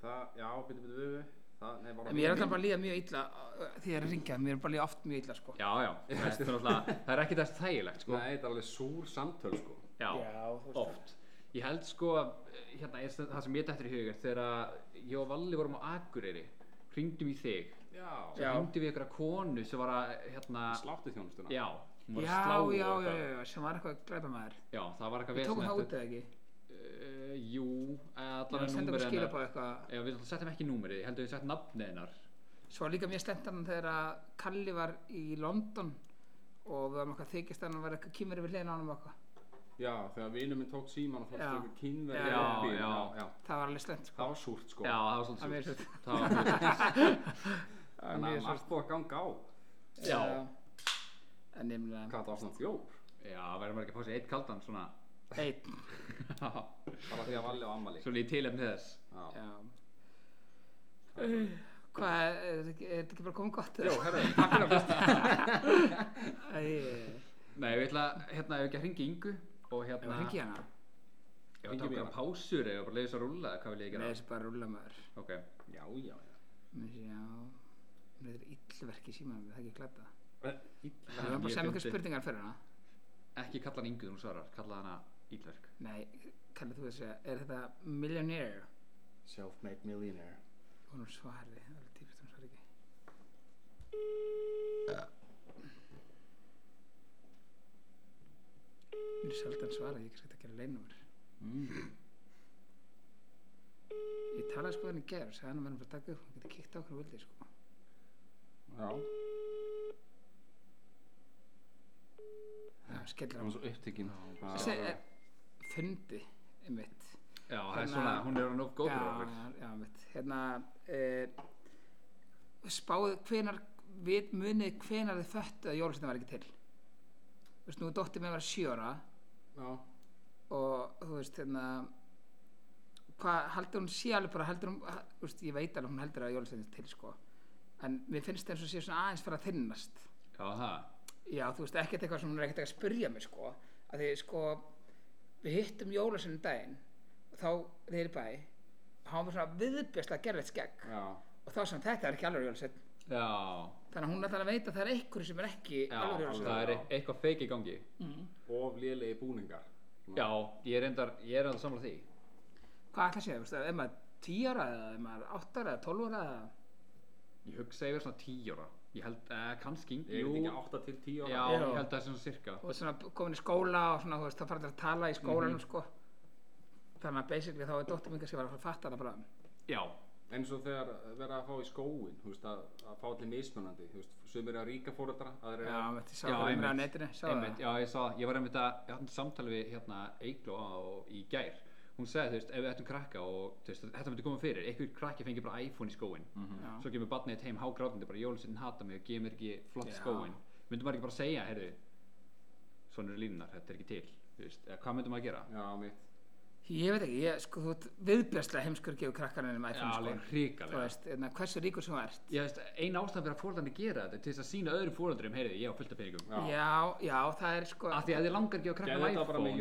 [SPEAKER 2] Það, já, byrju, byrju, byrju. Það, nei, var
[SPEAKER 1] En mér er alltaf bara að líða mjög illa uh, því ég er að ringja, mér er bara að líða oft mjög illa sko.
[SPEAKER 3] Já, já, það er, náttúrulega- það er ekki þess þægilegt sko
[SPEAKER 2] Nei, það er alveg súr samtöl, sko.
[SPEAKER 3] Já,
[SPEAKER 1] þú
[SPEAKER 3] oft Ég held sko að, eh, hérna, ég, það sem ég dættir í hugur þegar að ég og Valli vorum á Akureyri hringdum í þig
[SPEAKER 2] Já.
[SPEAKER 1] Já.
[SPEAKER 3] hringdum við ykkur að konu sem var að, hérna
[SPEAKER 2] Sláttið þjónustuna.
[SPEAKER 3] Já, hún var að
[SPEAKER 1] Já,
[SPEAKER 3] slá og
[SPEAKER 1] já, já,
[SPEAKER 3] eitthvað.
[SPEAKER 1] já, já, sem var eitthvað glæpamaður.
[SPEAKER 3] Já, það var eitthvað
[SPEAKER 1] Við tókum það
[SPEAKER 3] vesen
[SPEAKER 1] út eða ekki?
[SPEAKER 3] Uh, jú,
[SPEAKER 1] Já,
[SPEAKER 3] allan
[SPEAKER 1] við sendum við
[SPEAKER 3] hennar
[SPEAKER 1] skilabóð eitthvað.
[SPEAKER 3] Já, við settum ekki númerið, ég held að við settum nafnið hennar sko.
[SPEAKER 1] Svo var líka mjög stemt hann þegar að Kalli var í London og við varum eitthvað að þykist að hann var eitthvað kýmur yfir hliðin á hann og eitthvað.
[SPEAKER 2] Já, þegar vinur minn tók síman og
[SPEAKER 1] Já.
[SPEAKER 2] fannst ykkur kynverði
[SPEAKER 1] Já,
[SPEAKER 2] uppi.
[SPEAKER 3] já.
[SPEAKER 1] það var alveg slemt sko.
[SPEAKER 2] Það var súrt sko.
[SPEAKER 3] Já, það var
[SPEAKER 1] Það var
[SPEAKER 3] svolítið
[SPEAKER 1] mjög
[SPEAKER 3] súrt.
[SPEAKER 1] súrt.
[SPEAKER 3] Það var mjög súrt.
[SPEAKER 2] Þannig
[SPEAKER 1] mjög
[SPEAKER 2] að margt búið að ganga á.
[SPEAKER 3] Já.
[SPEAKER 1] en nefnilega
[SPEAKER 2] Hvað það var svona þjór.
[SPEAKER 3] Já, verður maður ekki að fá sér eitt kaldan svona.
[SPEAKER 1] einn
[SPEAKER 2] Bara því að valli á ammali.
[SPEAKER 3] svona í tilefni þess.
[SPEAKER 2] Já.
[SPEAKER 1] já. hvað, er, er, þetta ekki- er þetta ekki bara komið gott?
[SPEAKER 2] Jó, herru, takk fyrir að hlusta.
[SPEAKER 1] herru
[SPEAKER 3] Nei, ég ætla, hérna, ef ekki að ringi Ingu og
[SPEAKER 1] Ef að
[SPEAKER 3] hérna,
[SPEAKER 1] ringi hana?
[SPEAKER 3] ef
[SPEAKER 2] Hringi
[SPEAKER 3] ekki
[SPEAKER 2] mér.
[SPEAKER 3] bara pásur eða bara leiðis að rúlla eða hvað vil ég
[SPEAKER 1] Nei,
[SPEAKER 3] gera?
[SPEAKER 1] þessi bara rúla maður.
[SPEAKER 3] Ok,
[SPEAKER 2] Já, já, já.
[SPEAKER 1] Mér sé á, mér þetta er illverk í símanum, það er ekki glata.
[SPEAKER 2] Ítla.
[SPEAKER 1] Við varum bara að
[SPEAKER 3] ég
[SPEAKER 1] semja eitthvað
[SPEAKER 3] fyndi.
[SPEAKER 1] spurningar fyrir hana.
[SPEAKER 3] ekki kalla hann Ingu þegar hún svarar, kalla hana Ílverk.
[SPEAKER 1] Nei, kallið þú að segja, er þetta millionaire?
[SPEAKER 2] Self-made millionaire.
[SPEAKER 1] Og hún svarði, það er alveg típist, hún svarði ekki. Mér er sjaldan svarað, ég er kannski hægt að gera leinnúmer. Ég talaði sko við hann í gær og sagði hann að verðum bara að taka upp, hann getur kíkt á okkur völdið sko.
[SPEAKER 2] Já.
[SPEAKER 1] Já, skellir
[SPEAKER 2] Það
[SPEAKER 1] hann.
[SPEAKER 2] var svo upptekinn.
[SPEAKER 1] Þessi er fundi einmitt
[SPEAKER 3] Já, það er
[SPEAKER 1] Hérna-
[SPEAKER 3] svona, hún er nú góð fyrir okkur.
[SPEAKER 1] já, já, einmitt hérna e, spáðu hvenar við munið hvenar þið föttu að jólasveitin var ekki til þú veist nú dóttir mér var sjö ára
[SPEAKER 2] Já.
[SPEAKER 1] og þú veist hérna hvað heldur hún sé alveg bara heldur hún ha- þú veist, ég veit alveg hún heldur að jólasveitin er til sko en mér finnst eins og sé svona aðeins fyrir að þinnast
[SPEAKER 3] Já, það.
[SPEAKER 1] Já, þú veist, ekkert eitthvað sem hún er ekkert eitthvað að spyrja mig, sko. Að því, sko, við hittum jólasunum daginn og þá niður í bæ og hann var svona viðbjörslega gerðið skegg
[SPEAKER 2] Já.
[SPEAKER 1] og þá sem þetta er ekki alveg jólasinn.
[SPEAKER 3] Já,
[SPEAKER 1] Þannig að hún ætlar að veita að það er einhverju sem er ekki
[SPEAKER 3] já,
[SPEAKER 1] alveg jólasinn.
[SPEAKER 3] það er e- eitthvað feik í gangi.
[SPEAKER 2] Of lélegi búningar.
[SPEAKER 3] Já, ég er endar, ég er endar samlega því.
[SPEAKER 1] Hvað ætlar að segja, þú veist, ef maður er 10 ára eða ef maður er 8 ára eða 12 ára eða...
[SPEAKER 3] Ég hugsa yfir svona 10 ára. Ég held, eh, kannski Ingu.
[SPEAKER 2] Ég veit ekki 8 til 10 ára.
[SPEAKER 3] Já,
[SPEAKER 1] Já.
[SPEAKER 3] ég held að það er svona cirka.
[SPEAKER 1] og svona komin í skóla og svona, þú veist, þá fara allir að tala í skólanum, sko. Þannig að basically þá er dóttir mingar sem var að fara að fatta hana bráðum.
[SPEAKER 3] Já,
[SPEAKER 2] eins og þegar verða að fá í skóin þú veist, að, að fá allir mismunandi þú veist, sem eru að ríka fóreldra aðrir
[SPEAKER 1] Já,
[SPEAKER 2] eru að
[SPEAKER 1] veit, ég sá það um á netinu, sá það.
[SPEAKER 3] einmitt, já, ég sá, það. ég var einmitt að, ég hatt samtali við hérna Eigló á, í gær, hún sagði, þú veist, ef við ættum krakka og, þú veist, þetta myndi koma fyrir, einhver krakki fengi bara iPhone í skóin,
[SPEAKER 1] Já.
[SPEAKER 3] svo kemur barnið þitt heim hágrátandi, bara jólusinn hata mig og gefur mér ekki flott
[SPEAKER 1] Já.
[SPEAKER 3] skóin, myndi maður ekki bara segja, heyrðu, svona eru línunar, þetta er ekki til, þú veist, eða hvað myndi maður gera?
[SPEAKER 2] já, mitt
[SPEAKER 1] Ég veit ekki, ég, sko, þú ert viðbjörslega heimskur gefur krakkarinn um
[SPEAKER 3] Já,
[SPEAKER 1] iPhone, sko.
[SPEAKER 3] alveg
[SPEAKER 1] þú
[SPEAKER 3] hrikalega.
[SPEAKER 1] veist, einna, hversu ríkur sem þú ert
[SPEAKER 3] Ég veist, ein ástæðan fyrir að fórlandi gera þetta er til þess að sína öðrum fórlandurum, heyrðu, ég á fullt af peningum.
[SPEAKER 2] já.
[SPEAKER 1] já, já, það er sko
[SPEAKER 3] Af því að þið langar ekki að krakka
[SPEAKER 2] gerði þetta bara með
[SPEAKER 3] iPhone.
[SPEAKER 1] en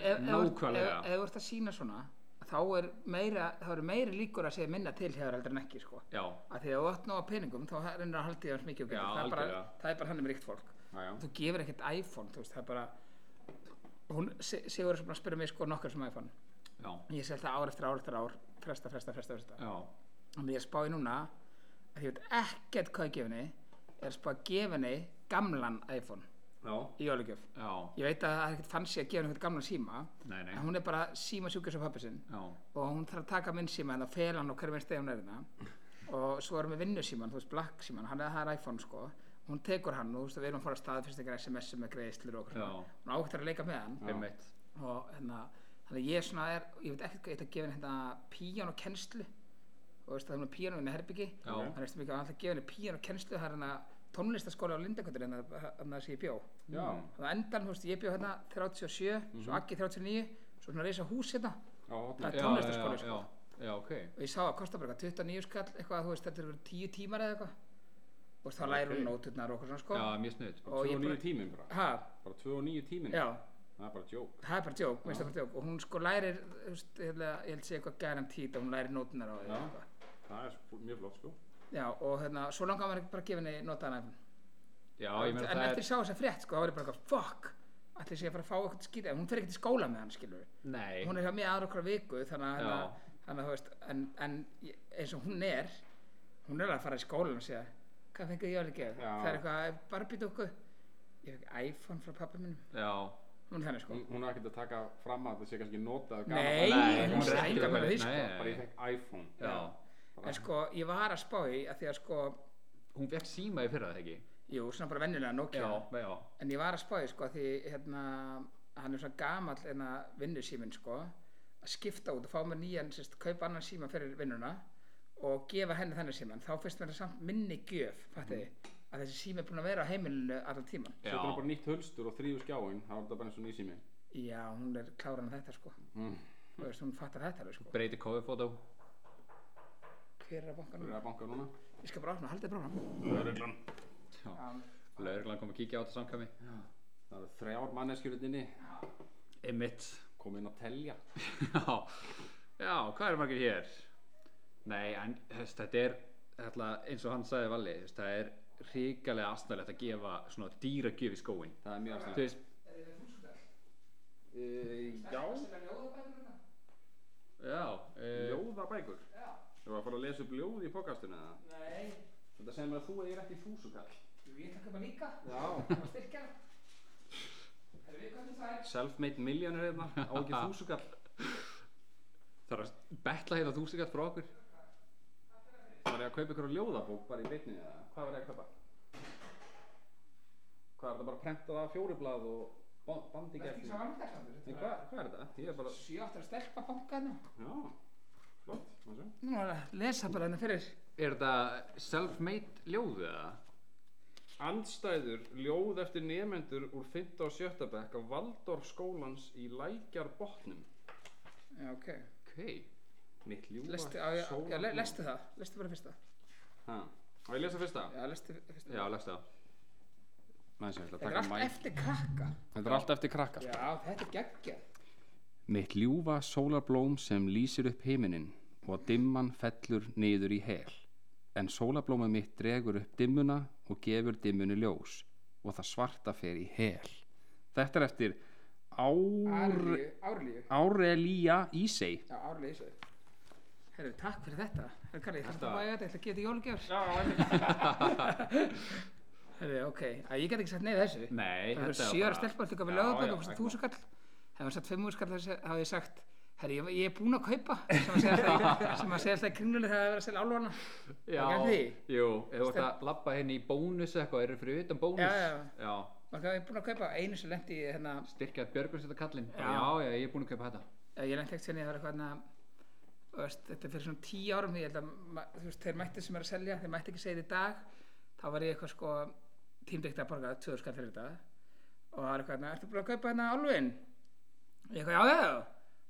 [SPEAKER 1] ef, ef, ef, ef,
[SPEAKER 3] Nákvæmlega.
[SPEAKER 1] ef þú ert að sína svona þá er meira, þá eru meiri líkur að segja minna til hefur heldur en ekki sko
[SPEAKER 3] Já,
[SPEAKER 1] að því að þú átt nóg að peningum þá reynir að haldi þér mikið og
[SPEAKER 3] Já,
[SPEAKER 1] getur. það er bara,
[SPEAKER 3] algjörlega.
[SPEAKER 1] það er bara hann um ríkt fólk
[SPEAKER 2] já, já.
[SPEAKER 1] þú gefur ekkert iPhone, þú veist, það er bara hún, Se- Sigur er svona að spyrja mig sko nokkar sem iPhone,
[SPEAKER 3] já,
[SPEAKER 1] ég sé alltaf ár eftir ár eftir ár, fresta, fresta, fresta, fresta
[SPEAKER 3] já,
[SPEAKER 1] og ég spái núna að ég veit ekkert hvað ég gef henni er að spá að gefa henni gamlan iPhone
[SPEAKER 2] já,
[SPEAKER 1] í jólugjöf
[SPEAKER 3] já.
[SPEAKER 1] ég veit að það er ekkert fancy að gefa henni eitthvað gamlan síma
[SPEAKER 3] Nei, nei.
[SPEAKER 1] en hún er bara síma sjúkjur sem pappi sinn
[SPEAKER 3] Já,
[SPEAKER 1] og hún þarf að taka minn síma en það fel hann og hverjum einn stegi hún er hérna og svo erum við vinnusíman, þú veist black síman hann er það er iPhone sko hún tekur hann og þú veist að við erum að fara að stað fyrst ekki SMS með greiðslur og okkur
[SPEAKER 3] Já.
[SPEAKER 1] svona. hún ákvæmt að leika með hann
[SPEAKER 3] einmitt.
[SPEAKER 1] og hérna þannig að ég svona er, ég veit ekkert hvað ég ætla að gefa henni hérna píjan og kennslu og veist að hún er píjan og henni herbyggi
[SPEAKER 3] Já.
[SPEAKER 1] þannig veist mikið að hann ætla að gefa henni píjan og kennslu það er hérna tónlistaskóla á Lindakötur en það sé ég bjó
[SPEAKER 2] já,
[SPEAKER 1] þannig að endan, þú veist, ég bjó hérna 37 svo Aggi 39, svo svona reysa hús hérna
[SPEAKER 2] já,
[SPEAKER 1] það
[SPEAKER 2] hotnið.
[SPEAKER 1] er tónlistaskóla
[SPEAKER 3] Já,
[SPEAKER 1] sko.
[SPEAKER 3] já, já, ok.
[SPEAKER 1] og ég sá að kosta bara eitthvað 29 skall eitthvað, þú veist, þetta eru 10 tímar eða eitthvað og þá lærir hún nóturnar og okkur svona sko
[SPEAKER 3] Já, mjög snudd.
[SPEAKER 1] og
[SPEAKER 2] tvö
[SPEAKER 1] ég
[SPEAKER 2] og nýju
[SPEAKER 1] bara-
[SPEAKER 2] tíminn bara
[SPEAKER 1] ha,
[SPEAKER 2] bara tvö og nýju tíminn
[SPEAKER 1] já,
[SPEAKER 2] það er bara joke
[SPEAKER 1] það er bara djók, minnst það bara djók og hún sko lærir, þú veist, ég held að- ég held að segja eitthvað gæran tít og hún lærir nótunar á því
[SPEAKER 2] Já.
[SPEAKER 1] eitthvað.
[SPEAKER 2] það er svo- mjög flott sko
[SPEAKER 1] já, og hérna, svo langar maður ekki bara að gefa henni notaðan iPhone
[SPEAKER 3] Já, ég
[SPEAKER 1] en
[SPEAKER 3] meina
[SPEAKER 1] eftir
[SPEAKER 3] það
[SPEAKER 1] ég
[SPEAKER 3] er...
[SPEAKER 1] sá þess að frétt, sko, þá var ég bara eitthvað, fuck ætli sé að fara að fá eitthvað skýta, hún fer ekki til skóla með hann, skilur
[SPEAKER 3] Nei,
[SPEAKER 1] hún er hjá mér aðra okkar viku, þannig að hérna,
[SPEAKER 3] Já.
[SPEAKER 1] þannig að þú veist, en, en ég- eins og hún er hún er að fara í skólan og segja, hvað fengið ég alveg
[SPEAKER 2] Já.
[SPEAKER 1] það er eitthvað, Barbie dúkku ég fekk iPhone frá pappa mínum
[SPEAKER 3] já,
[SPEAKER 1] hún er þannig sko,
[SPEAKER 2] hún, hún er ekkert að taka fram að það sé kannski notað
[SPEAKER 1] Nei,
[SPEAKER 3] Nei,
[SPEAKER 1] hún
[SPEAKER 3] hún
[SPEAKER 1] er
[SPEAKER 3] er ekki
[SPEAKER 1] enga með
[SPEAKER 3] að-
[SPEAKER 1] því sko
[SPEAKER 3] nei.
[SPEAKER 2] bara ég fekk iPhone
[SPEAKER 3] já.
[SPEAKER 1] en sko, ég var að spá í að því að sko
[SPEAKER 3] Hún fekk síma í fyrra, það ekki?
[SPEAKER 1] jú, svona bara venjulega Nokia
[SPEAKER 3] já.
[SPEAKER 1] en ég var að spá í sko að því hérna hann er svona gamall en að vinnu síminn sko að skipta út og fá mér nýjan sérst, kaupa annan síma fyrir vinnuna og gefa henni þennan síman þá finnst mér það samt minni gjöf fattið þið að þessi sími er búin að vera á heimilinu allan tíman
[SPEAKER 3] Já.
[SPEAKER 2] Setur hann bara nýtt hulstur og þrýfur skjáin, þá er þetta bara eins og nýsými.
[SPEAKER 1] já, hún er kláran að þetta sko
[SPEAKER 2] Mm.
[SPEAKER 1] Þú veist, hún fattar þetta alveg sko
[SPEAKER 3] breyti kofifótó
[SPEAKER 1] hver er að banka
[SPEAKER 2] Það
[SPEAKER 1] núna?
[SPEAKER 2] er að banka núna.
[SPEAKER 1] ég skal bara opna, haldið bara opna
[SPEAKER 2] Lögreglan.
[SPEAKER 3] lauruglan kom að kíkja á þetta samkvæmi
[SPEAKER 2] Það eru þrjár manneskjuritinni,
[SPEAKER 3] einmitt
[SPEAKER 2] komið inn að telja.
[SPEAKER 3] já, já, hvað eru margir hér? nei, en þú veist, þetta er ætla, eins og hann sagði Valli, þú veist, það er ríkalega astanlegt að gefa svona dýra gjöf í skóin
[SPEAKER 2] Það er mjög
[SPEAKER 3] þú
[SPEAKER 2] aðstæðan.
[SPEAKER 3] veist,
[SPEAKER 2] Uh, já,
[SPEAKER 3] já uh,
[SPEAKER 2] ljóðabækur. Já. Þú var að fara að lesa upp ljóð í pokastinu eða?
[SPEAKER 1] nei,
[SPEAKER 2] Þetta segir mér að þú eigir ekki þúsukall.
[SPEAKER 1] ég ætla að köpa líka
[SPEAKER 2] Já.
[SPEAKER 1] og styrkja erum við komið það
[SPEAKER 2] Self-made millionaire hérna, á ekki þúsukall.
[SPEAKER 3] það er að betla hérna þú sigat frá okkur
[SPEAKER 2] Var ég að kaupa ykkur ljóðabók bara í beinni eða? Hvað var ég að kaupa? Hvað er þetta bara prentað af fjórublað og ba- bandi
[SPEAKER 1] er ekki
[SPEAKER 2] gegn?
[SPEAKER 1] svo vandarsandur
[SPEAKER 2] Nei, hvað, hvað er þetta? Ég er bara...
[SPEAKER 1] sjátt að stelpa banka hérna
[SPEAKER 2] Já, flott, maður sé.
[SPEAKER 1] nú er að lesa bara hérna fyrir
[SPEAKER 3] er þetta self-made ljóðu eða?
[SPEAKER 2] Andstæður ljóð eftir nefendur úr 5. og 7. bekk á Valdorf skólans í Lækjarbotnum.
[SPEAKER 1] já, ok
[SPEAKER 3] ok,
[SPEAKER 2] Mitt ljúa
[SPEAKER 1] lestu, á, já, já, le, lestu það, lestu bara fyrsta
[SPEAKER 2] Ha, á ég að lesa fyrsta?
[SPEAKER 1] já, lestu fyrsta
[SPEAKER 3] já, leggst það
[SPEAKER 2] Nei, sem ég ætla að
[SPEAKER 1] þetta er
[SPEAKER 2] taka
[SPEAKER 1] allt
[SPEAKER 2] mæ.
[SPEAKER 1] eftir krakka
[SPEAKER 2] Þetta er allt eftir krakka. sko.
[SPEAKER 1] já, þetta er geggja
[SPEAKER 2] Mitt ljúfa sólarblóm sem lýsir upp himinin og dimman fellur niður í hel. En sólarblómið mitt dregur upp dimmuna og gefur dimmunu ljós og það svarta fer í hel. Þetta er eftir Ár...
[SPEAKER 1] árlíu, árlíu
[SPEAKER 2] Árelia Ísei.
[SPEAKER 1] já, árlíu í sig herru, takk fyrir þetta herru, Karli, ég þarf að bæja þetta, ég ætla að geta jólgjör herru, ok, að ég get ekki sagt neyð þessu
[SPEAKER 3] nei,
[SPEAKER 1] það eru
[SPEAKER 3] þetta
[SPEAKER 1] sjö ára stelpa þetta við
[SPEAKER 2] Já,
[SPEAKER 1] lögabæk
[SPEAKER 2] já,
[SPEAKER 1] og fórstu
[SPEAKER 2] ekki
[SPEAKER 1] þúsukall hefði hann sagt fimmúrskall hafði ég sagt herri ég, ég er búinn að kaupa sem að segja alltaf sem að segja alltaf í kringlunni þegar það er verið að selja álóna
[SPEAKER 3] Já,
[SPEAKER 1] Það gerði
[SPEAKER 3] jú, ef þú ert að labba henni í bónus eða eitthvað, eru fyrir utan bónus
[SPEAKER 1] Já, já,
[SPEAKER 3] já.
[SPEAKER 1] maður hefði búinn að kaupa einu sem lendi ég hérna
[SPEAKER 3] styrkjað björgur setja kallinn
[SPEAKER 1] Já.
[SPEAKER 3] já. já, ég er búin að kaupa þetta
[SPEAKER 1] ég lendi ekkert sinni það var eitthvað hérna þú veist, þetta er fyrir svona tíu árum ég held að ma- þú veist þeir mætti sem er að selja þeir mætti ekki segja þetta í dag þá var ég eitthvað sko tímdekta að borga 2000 skall fyrir þetta og það var eitthvað hérna ertu búinn að kaupa hérna álfin ég eitthvað já já já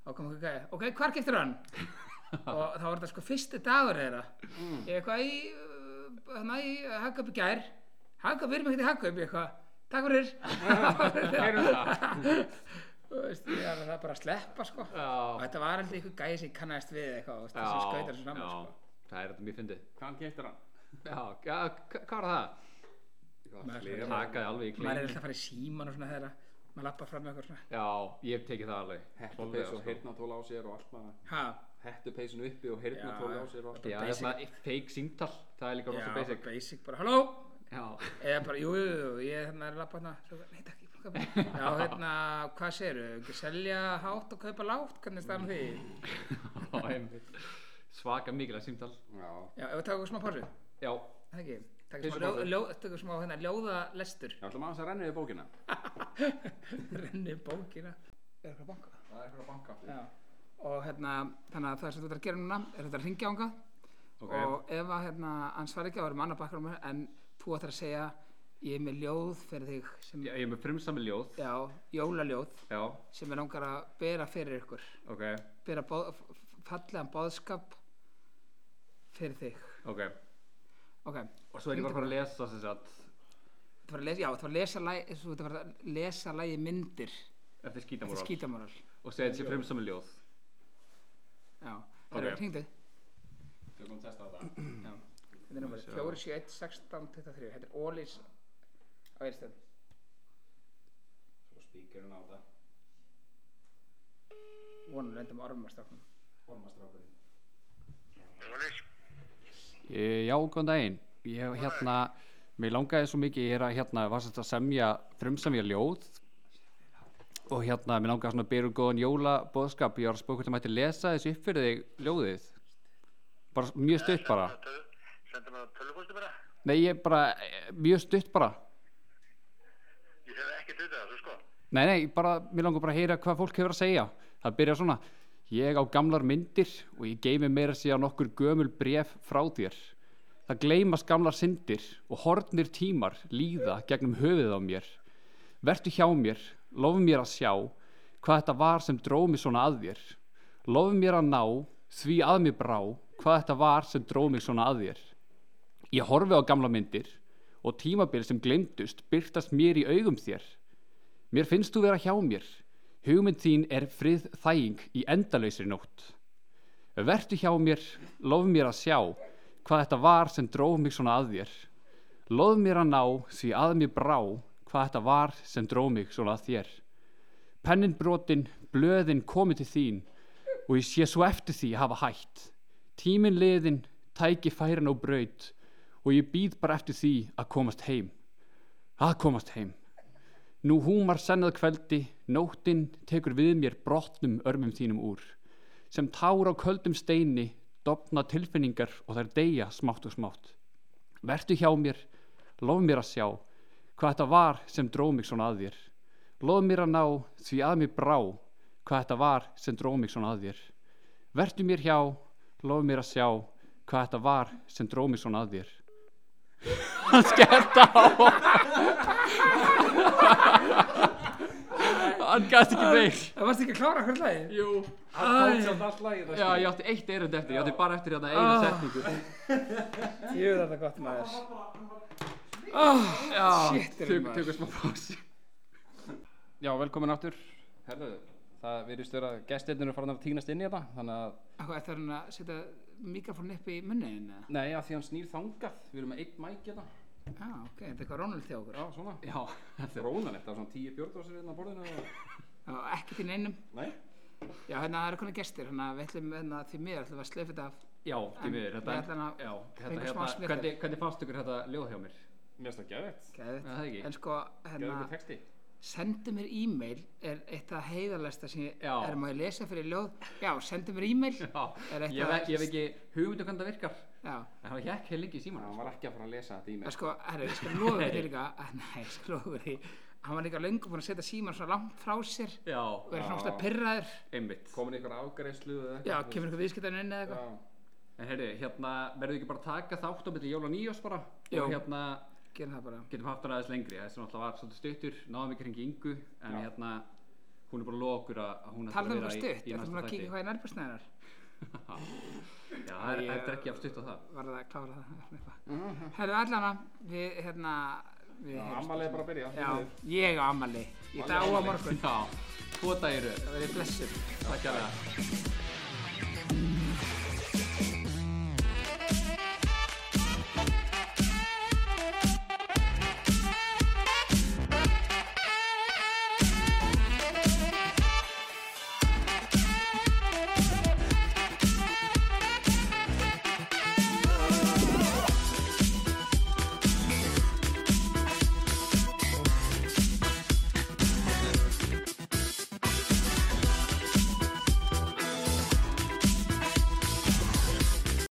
[SPEAKER 1] þá kom eitthvað gæði ok hvar getur hann og þá var þetta sko fyrsti dagur þeirra ég eitthvað í uh, hérna í Hagkaup í gær Hagkaup, við erum ekkert í Hagkaup ég eitthvað takk fyrir heyrum það þú veist ég er það bara að sleppa sko og
[SPEAKER 3] já,
[SPEAKER 1] þetta var aldrei einhver gæði sem ég kannaðist við eitthvað og þessi skautar sem saman sko.
[SPEAKER 3] það er þetta mjög fyndið
[SPEAKER 2] Hvað getur hann?
[SPEAKER 3] já, já, hva- hvað var það?
[SPEAKER 1] maður
[SPEAKER 3] takaði alveg í
[SPEAKER 1] maður er
[SPEAKER 3] klín
[SPEAKER 1] alltaf að fara í síman og svona þegar að maður lappa fram með eitthvað svona
[SPEAKER 3] já, ég hef tekið það alveg Klárlega,
[SPEAKER 2] Hettupeysu og heyrnatól á sér og allt maður.
[SPEAKER 1] ha,
[SPEAKER 2] Hettupeysun uppi og heyrnatól
[SPEAKER 1] Já,
[SPEAKER 2] á sér og allt.
[SPEAKER 1] bara
[SPEAKER 3] já,
[SPEAKER 1] basic.
[SPEAKER 3] þarna fake símtal, það er líka
[SPEAKER 1] já,
[SPEAKER 3] rosa
[SPEAKER 1] bara
[SPEAKER 3] basic
[SPEAKER 1] basic bara halló
[SPEAKER 3] já,
[SPEAKER 1] eða bara jú, jú, jú, ég hérna er að lappa hérna svo, nei takk, ég er búin að kaupa já, hérna, hvað segirðu, ekki selja hátt og kaupa lágt, hvernig er staðan á því já,
[SPEAKER 3] Já, einmitt. svaka mikilvæg símtal
[SPEAKER 2] Já.
[SPEAKER 1] ef við taka okkur smá pásu,
[SPEAKER 3] já,
[SPEAKER 1] það ekki taka
[SPEAKER 3] Fyrstu
[SPEAKER 1] smá, ljó,
[SPEAKER 3] pásu.
[SPEAKER 1] ljó, taka smá hérna, ljóða lestur
[SPEAKER 2] Ég ætla maður að renna yfir bókina.
[SPEAKER 1] renni bókina er eitthvað að banka
[SPEAKER 2] Það er eitthvað að banka.
[SPEAKER 1] Já. og hérna þannig að það sem þú ert að gera núna er þetta að ringja ánga og ef að hérna hann svar ekki þá erum annar bakkar um en þú ættir að segja ég er með ljóð fyrir þig sem,
[SPEAKER 3] ég ég er með frumsami ljóð
[SPEAKER 1] já, jólaljóð
[SPEAKER 3] já,
[SPEAKER 1] sem er langar að bera fyrir ykkur
[SPEAKER 3] ok,
[SPEAKER 1] bera bóð, fallegan bóðskap fyrir þig
[SPEAKER 3] ok
[SPEAKER 1] ok,
[SPEAKER 3] og svo er ég bara að fara að lesa sem sagt
[SPEAKER 1] þú ert að lesa, já, þú ert að fara að lesa lagi, þú ert að fara að lesa lagi myndir
[SPEAKER 3] eftir
[SPEAKER 1] þetta
[SPEAKER 3] skítamóral
[SPEAKER 1] er skítamóral já,
[SPEAKER 3] og segja þetta sé frumsami ljóð
[SPEAKER 1] það
[SPEAKER 3] Ok.
[SPEAKER 1] er hringdu
[SPEAKER 2] Tökum testa á það.
[SPEAKER 1] þetta er nummer 471 16 23 þetta er Ólís á Eirstöðum
[SPEAKER 2] Svo spíkurinn á það.
[SPEAKER 1] vonum endum ormastafnum
[SPEAKER 2] Formastrákurinn.
[SPEAKER 4] Jólis,
[SPEAKER 5] Eh, Já, góðan daginn. Ég hef hérna, mér langaði svo mikið, ég er að hérna, var sérst að semja, frumsemja ljóð og hérna, mér langaði svona að byrja um góðan jólabóðskap, ég var að spóða hvort ég mætti lesa þessu upp fyrir þig ljóðið. Bara s- mjög stutt bara.
[SPEAKER 4] sendur maður tölvuposti bara.
[SPEAKER 5] Nei, ég bara, eh, mjög stutt bara.
[SPEAKER 4] Ég hef ekki tutað þessu sko.
[SPEAKER 3] Nei, nei, bara, mér langar bara að heyra hvað fólk hefur að segja Það byrjar svona Ég á gamlar myndir og ég geymi meira síðan nokkur gömul bref frá þér Það gleymast gamlar syndir og hornir tímar líða gegnum höfuðið á mér Vertu hjá mér, lof mér að sjá hvað þetta var sem dró mig svona að þér Lof mér að ná, því að mér brá hvað þetta var sem dró mig svona að þér Ég horfi á gamla myndir og tímabil sem gleymdust byrtast mér í augum þér Mér finnst þú vera hjá mér. Hugmynd þín er frið þæging í endalausri nótt. Vertu hjá mér, lof mér að sjá hvað þetta var sem dróð mig svona að þér. Lof mér að ná því að mér brá hvað þetta var sem dróð mig svona að þér. Pennin brotin, blöðin komið til þín og ég sé svo eftir því að hafa hætt. Tíminn liðin, tæki færan og braut og ég býð bara eftir því að komast heim. Að komast heim. Nú húmar sennað kveldi, nóttin tekur við mér brotnum örmum þínum úr. Sem tár á köldum steini, dofna tilfinningar og þær deyja smátt og smátt. Vertu hjá mér, lof mér að sjá hvað þetta var sem dró mig svona að þér. Lof mér að ná því að mér brá hvað þetta var sem dró mig svona að þér. Vertu mér hjá, lof mér að sjá hvað þetta var sem dró mig svona að þér. Hann skellti á. Hann gæti ekki meir.
[SPEAKER 1] Það varst ekki að klára hverju lagi?
[SPEAKER 3] Jú. Já, ég átti eitt erund eftir, ég átti bara eftir hérna þetta eina
[SPEAKER 1] Ah.
[SPEAKER 3] setningu.
[SPEAKER 1] Jú, þetta er gott maður. Ah,
[SPEAKER 3] Já,
[SPEAKER 1] Shit, erum
[SPEAKER 3] tök,
[SPEAKER 1] maður.
[SPEAKER 3] tökum smá pási.
[SPEAKER 2] Já, velkomin aftur. Herðu, það virðist vera að gestirnir eru farin að týnast inn í þetta, þannig að,
[SPEAKER 1] Hvað, ættu hann að setja mikrofón upp í munniðin?
[SPEAKER 2] nei, að því hann snýr þangað, við erum með eitt mæk hérna.
[SPEAKER 1] Já, ok, þetta er eitthvað Ronald hjá okkur.
[SPEAKER 2] Já, svona.
[SPEAKER 3] Já, þetta er
[SPEAKER 2] Rónalegt, það er svona tíu björndósir hérna á borðinu. Og...
[SPEAKER 1] Já, ekki til neinum.
[SPEAKER 2] Nei.
[SPEAKER 1] Já, hérna, það eru konar gestir, hérna, við ætlum, hérna, því miður ætlum við að sleifa þetta af.
[SPEAKER 3] Já,
[SPEAKER 1] En
[SPEAKER 3] því miður,
[SPEAKER 1] við
[SPEAKER 3] þetta
[SPEAKER 1] ætlum að-
[SPEAKER 3] Já, þetta,
[SPEAKER 1] fengum smá
[SPEAKER 3] hérna,
[SPEAKER 1] smitten.
[SPEAKER 3] hvernig, hvernig fannst ykkur þetta ljóð hjá mér?
[SPEAKER 2] Mér finnst það geðvegt.
[SPEAKER 1] Geðveikt.
[SPEAKER 3] Já, það ekki.
[SPEAKER 1] En sko, hérna,
[SPEAKER 2] Geðveikur texti.
[SPEAKER 1] sendu mér e-mail er eitt af heiðarlegasta sem ég
[SPEAKER 3] Já.
[SPEAKER 1] er maður að lesa fyrir ljóð. Já, sendu mér e-mail.
[SPEAKER 3] Já,
[SPEAKER 1] Er eitthvað-
[SPEAKER 3] ég hef- ég hef ekki hugmyndu hvernig það virkar
[SPEAKER 1] Já.
[SPEAKER 3] En hann hjekk heil lengi í símanum
[SPEAKER 2] Hann var ekki að fara að lesa þetta í
[SPEAKER 1] Það
[SPEAKER 2] mig.
[SPEAKER 1] sko, herru, ég skal lofa þér líka, að, nei, ég skal lofa þér, því, hann var líka löngu búinn að setja síman svona langt frá sér
[SPEAKER 3] Já,
[SPEAKER 1] og verið svona
[SPEAKER 2] Já.
[SPEAKER 1] óslega pirraður.
[SPEAKER 3] einmitt
[SPEAKER 2] Komin ykkur afgreifslu eða
[SPEAKER 1] Já, kemur eitthvað viðskiptarinn inn eða eitthvað.
[SPEAKER 2] Já.
[SPEAKER 3] En heyrðu, hérna, verðum við ekki bara að taka þátt á milli jóla nýjós bara
[SPEAKER 1] Jú.
[SPEAKER 3] Og hérna,
[SPEAKER 1] Gerum það bara.
[SPEAKER 3] getum haft hann aðeins lengri Þessi náttúrulega var svolítið stuttur, náðum ekki hringi yngu En hérna, hún er bara að lofa okkur að að hún ætlar
[SPEAKER 1] Talað um
[SPEAKER 3] vera
[SPEAKER 1] eitthvað
[SPEAKER 3] í-
[SPEAKER 1] stutt,
[SPEAKER 3] í
[SPEAKER 1] ertu
[SPEAKER 3] næsta
[SPEAKER 1] búinn að
[SPEAKER 3] þætti.
[SPEAKER 1] kíkja hvað í nærbúrsnæðinar?
[SPEAKER 3] Já, það er-
[SPEAKER 1] Ég-
[SPEAKER 3] það er ekki af stutt á það
[SPEAKER 1] Var það að klára það svona
[SPEAKER 3] Mhm.
[SPEAKER 1] eitthvað? Herru, allana, við, hérna, við
[SPEAKER 2] Já,
[SPEAKER 1] heyrumst.
[SPEAKER 2] Amalið er bara að byrja.
[SPEAKER 1] Já, ég á ammali. Í dag og á morgun.
[SPEAKER 3] Já, tvo dagir
[SPEAKER 1] Það verið blessur.
[SPEAKER 3] Takk að það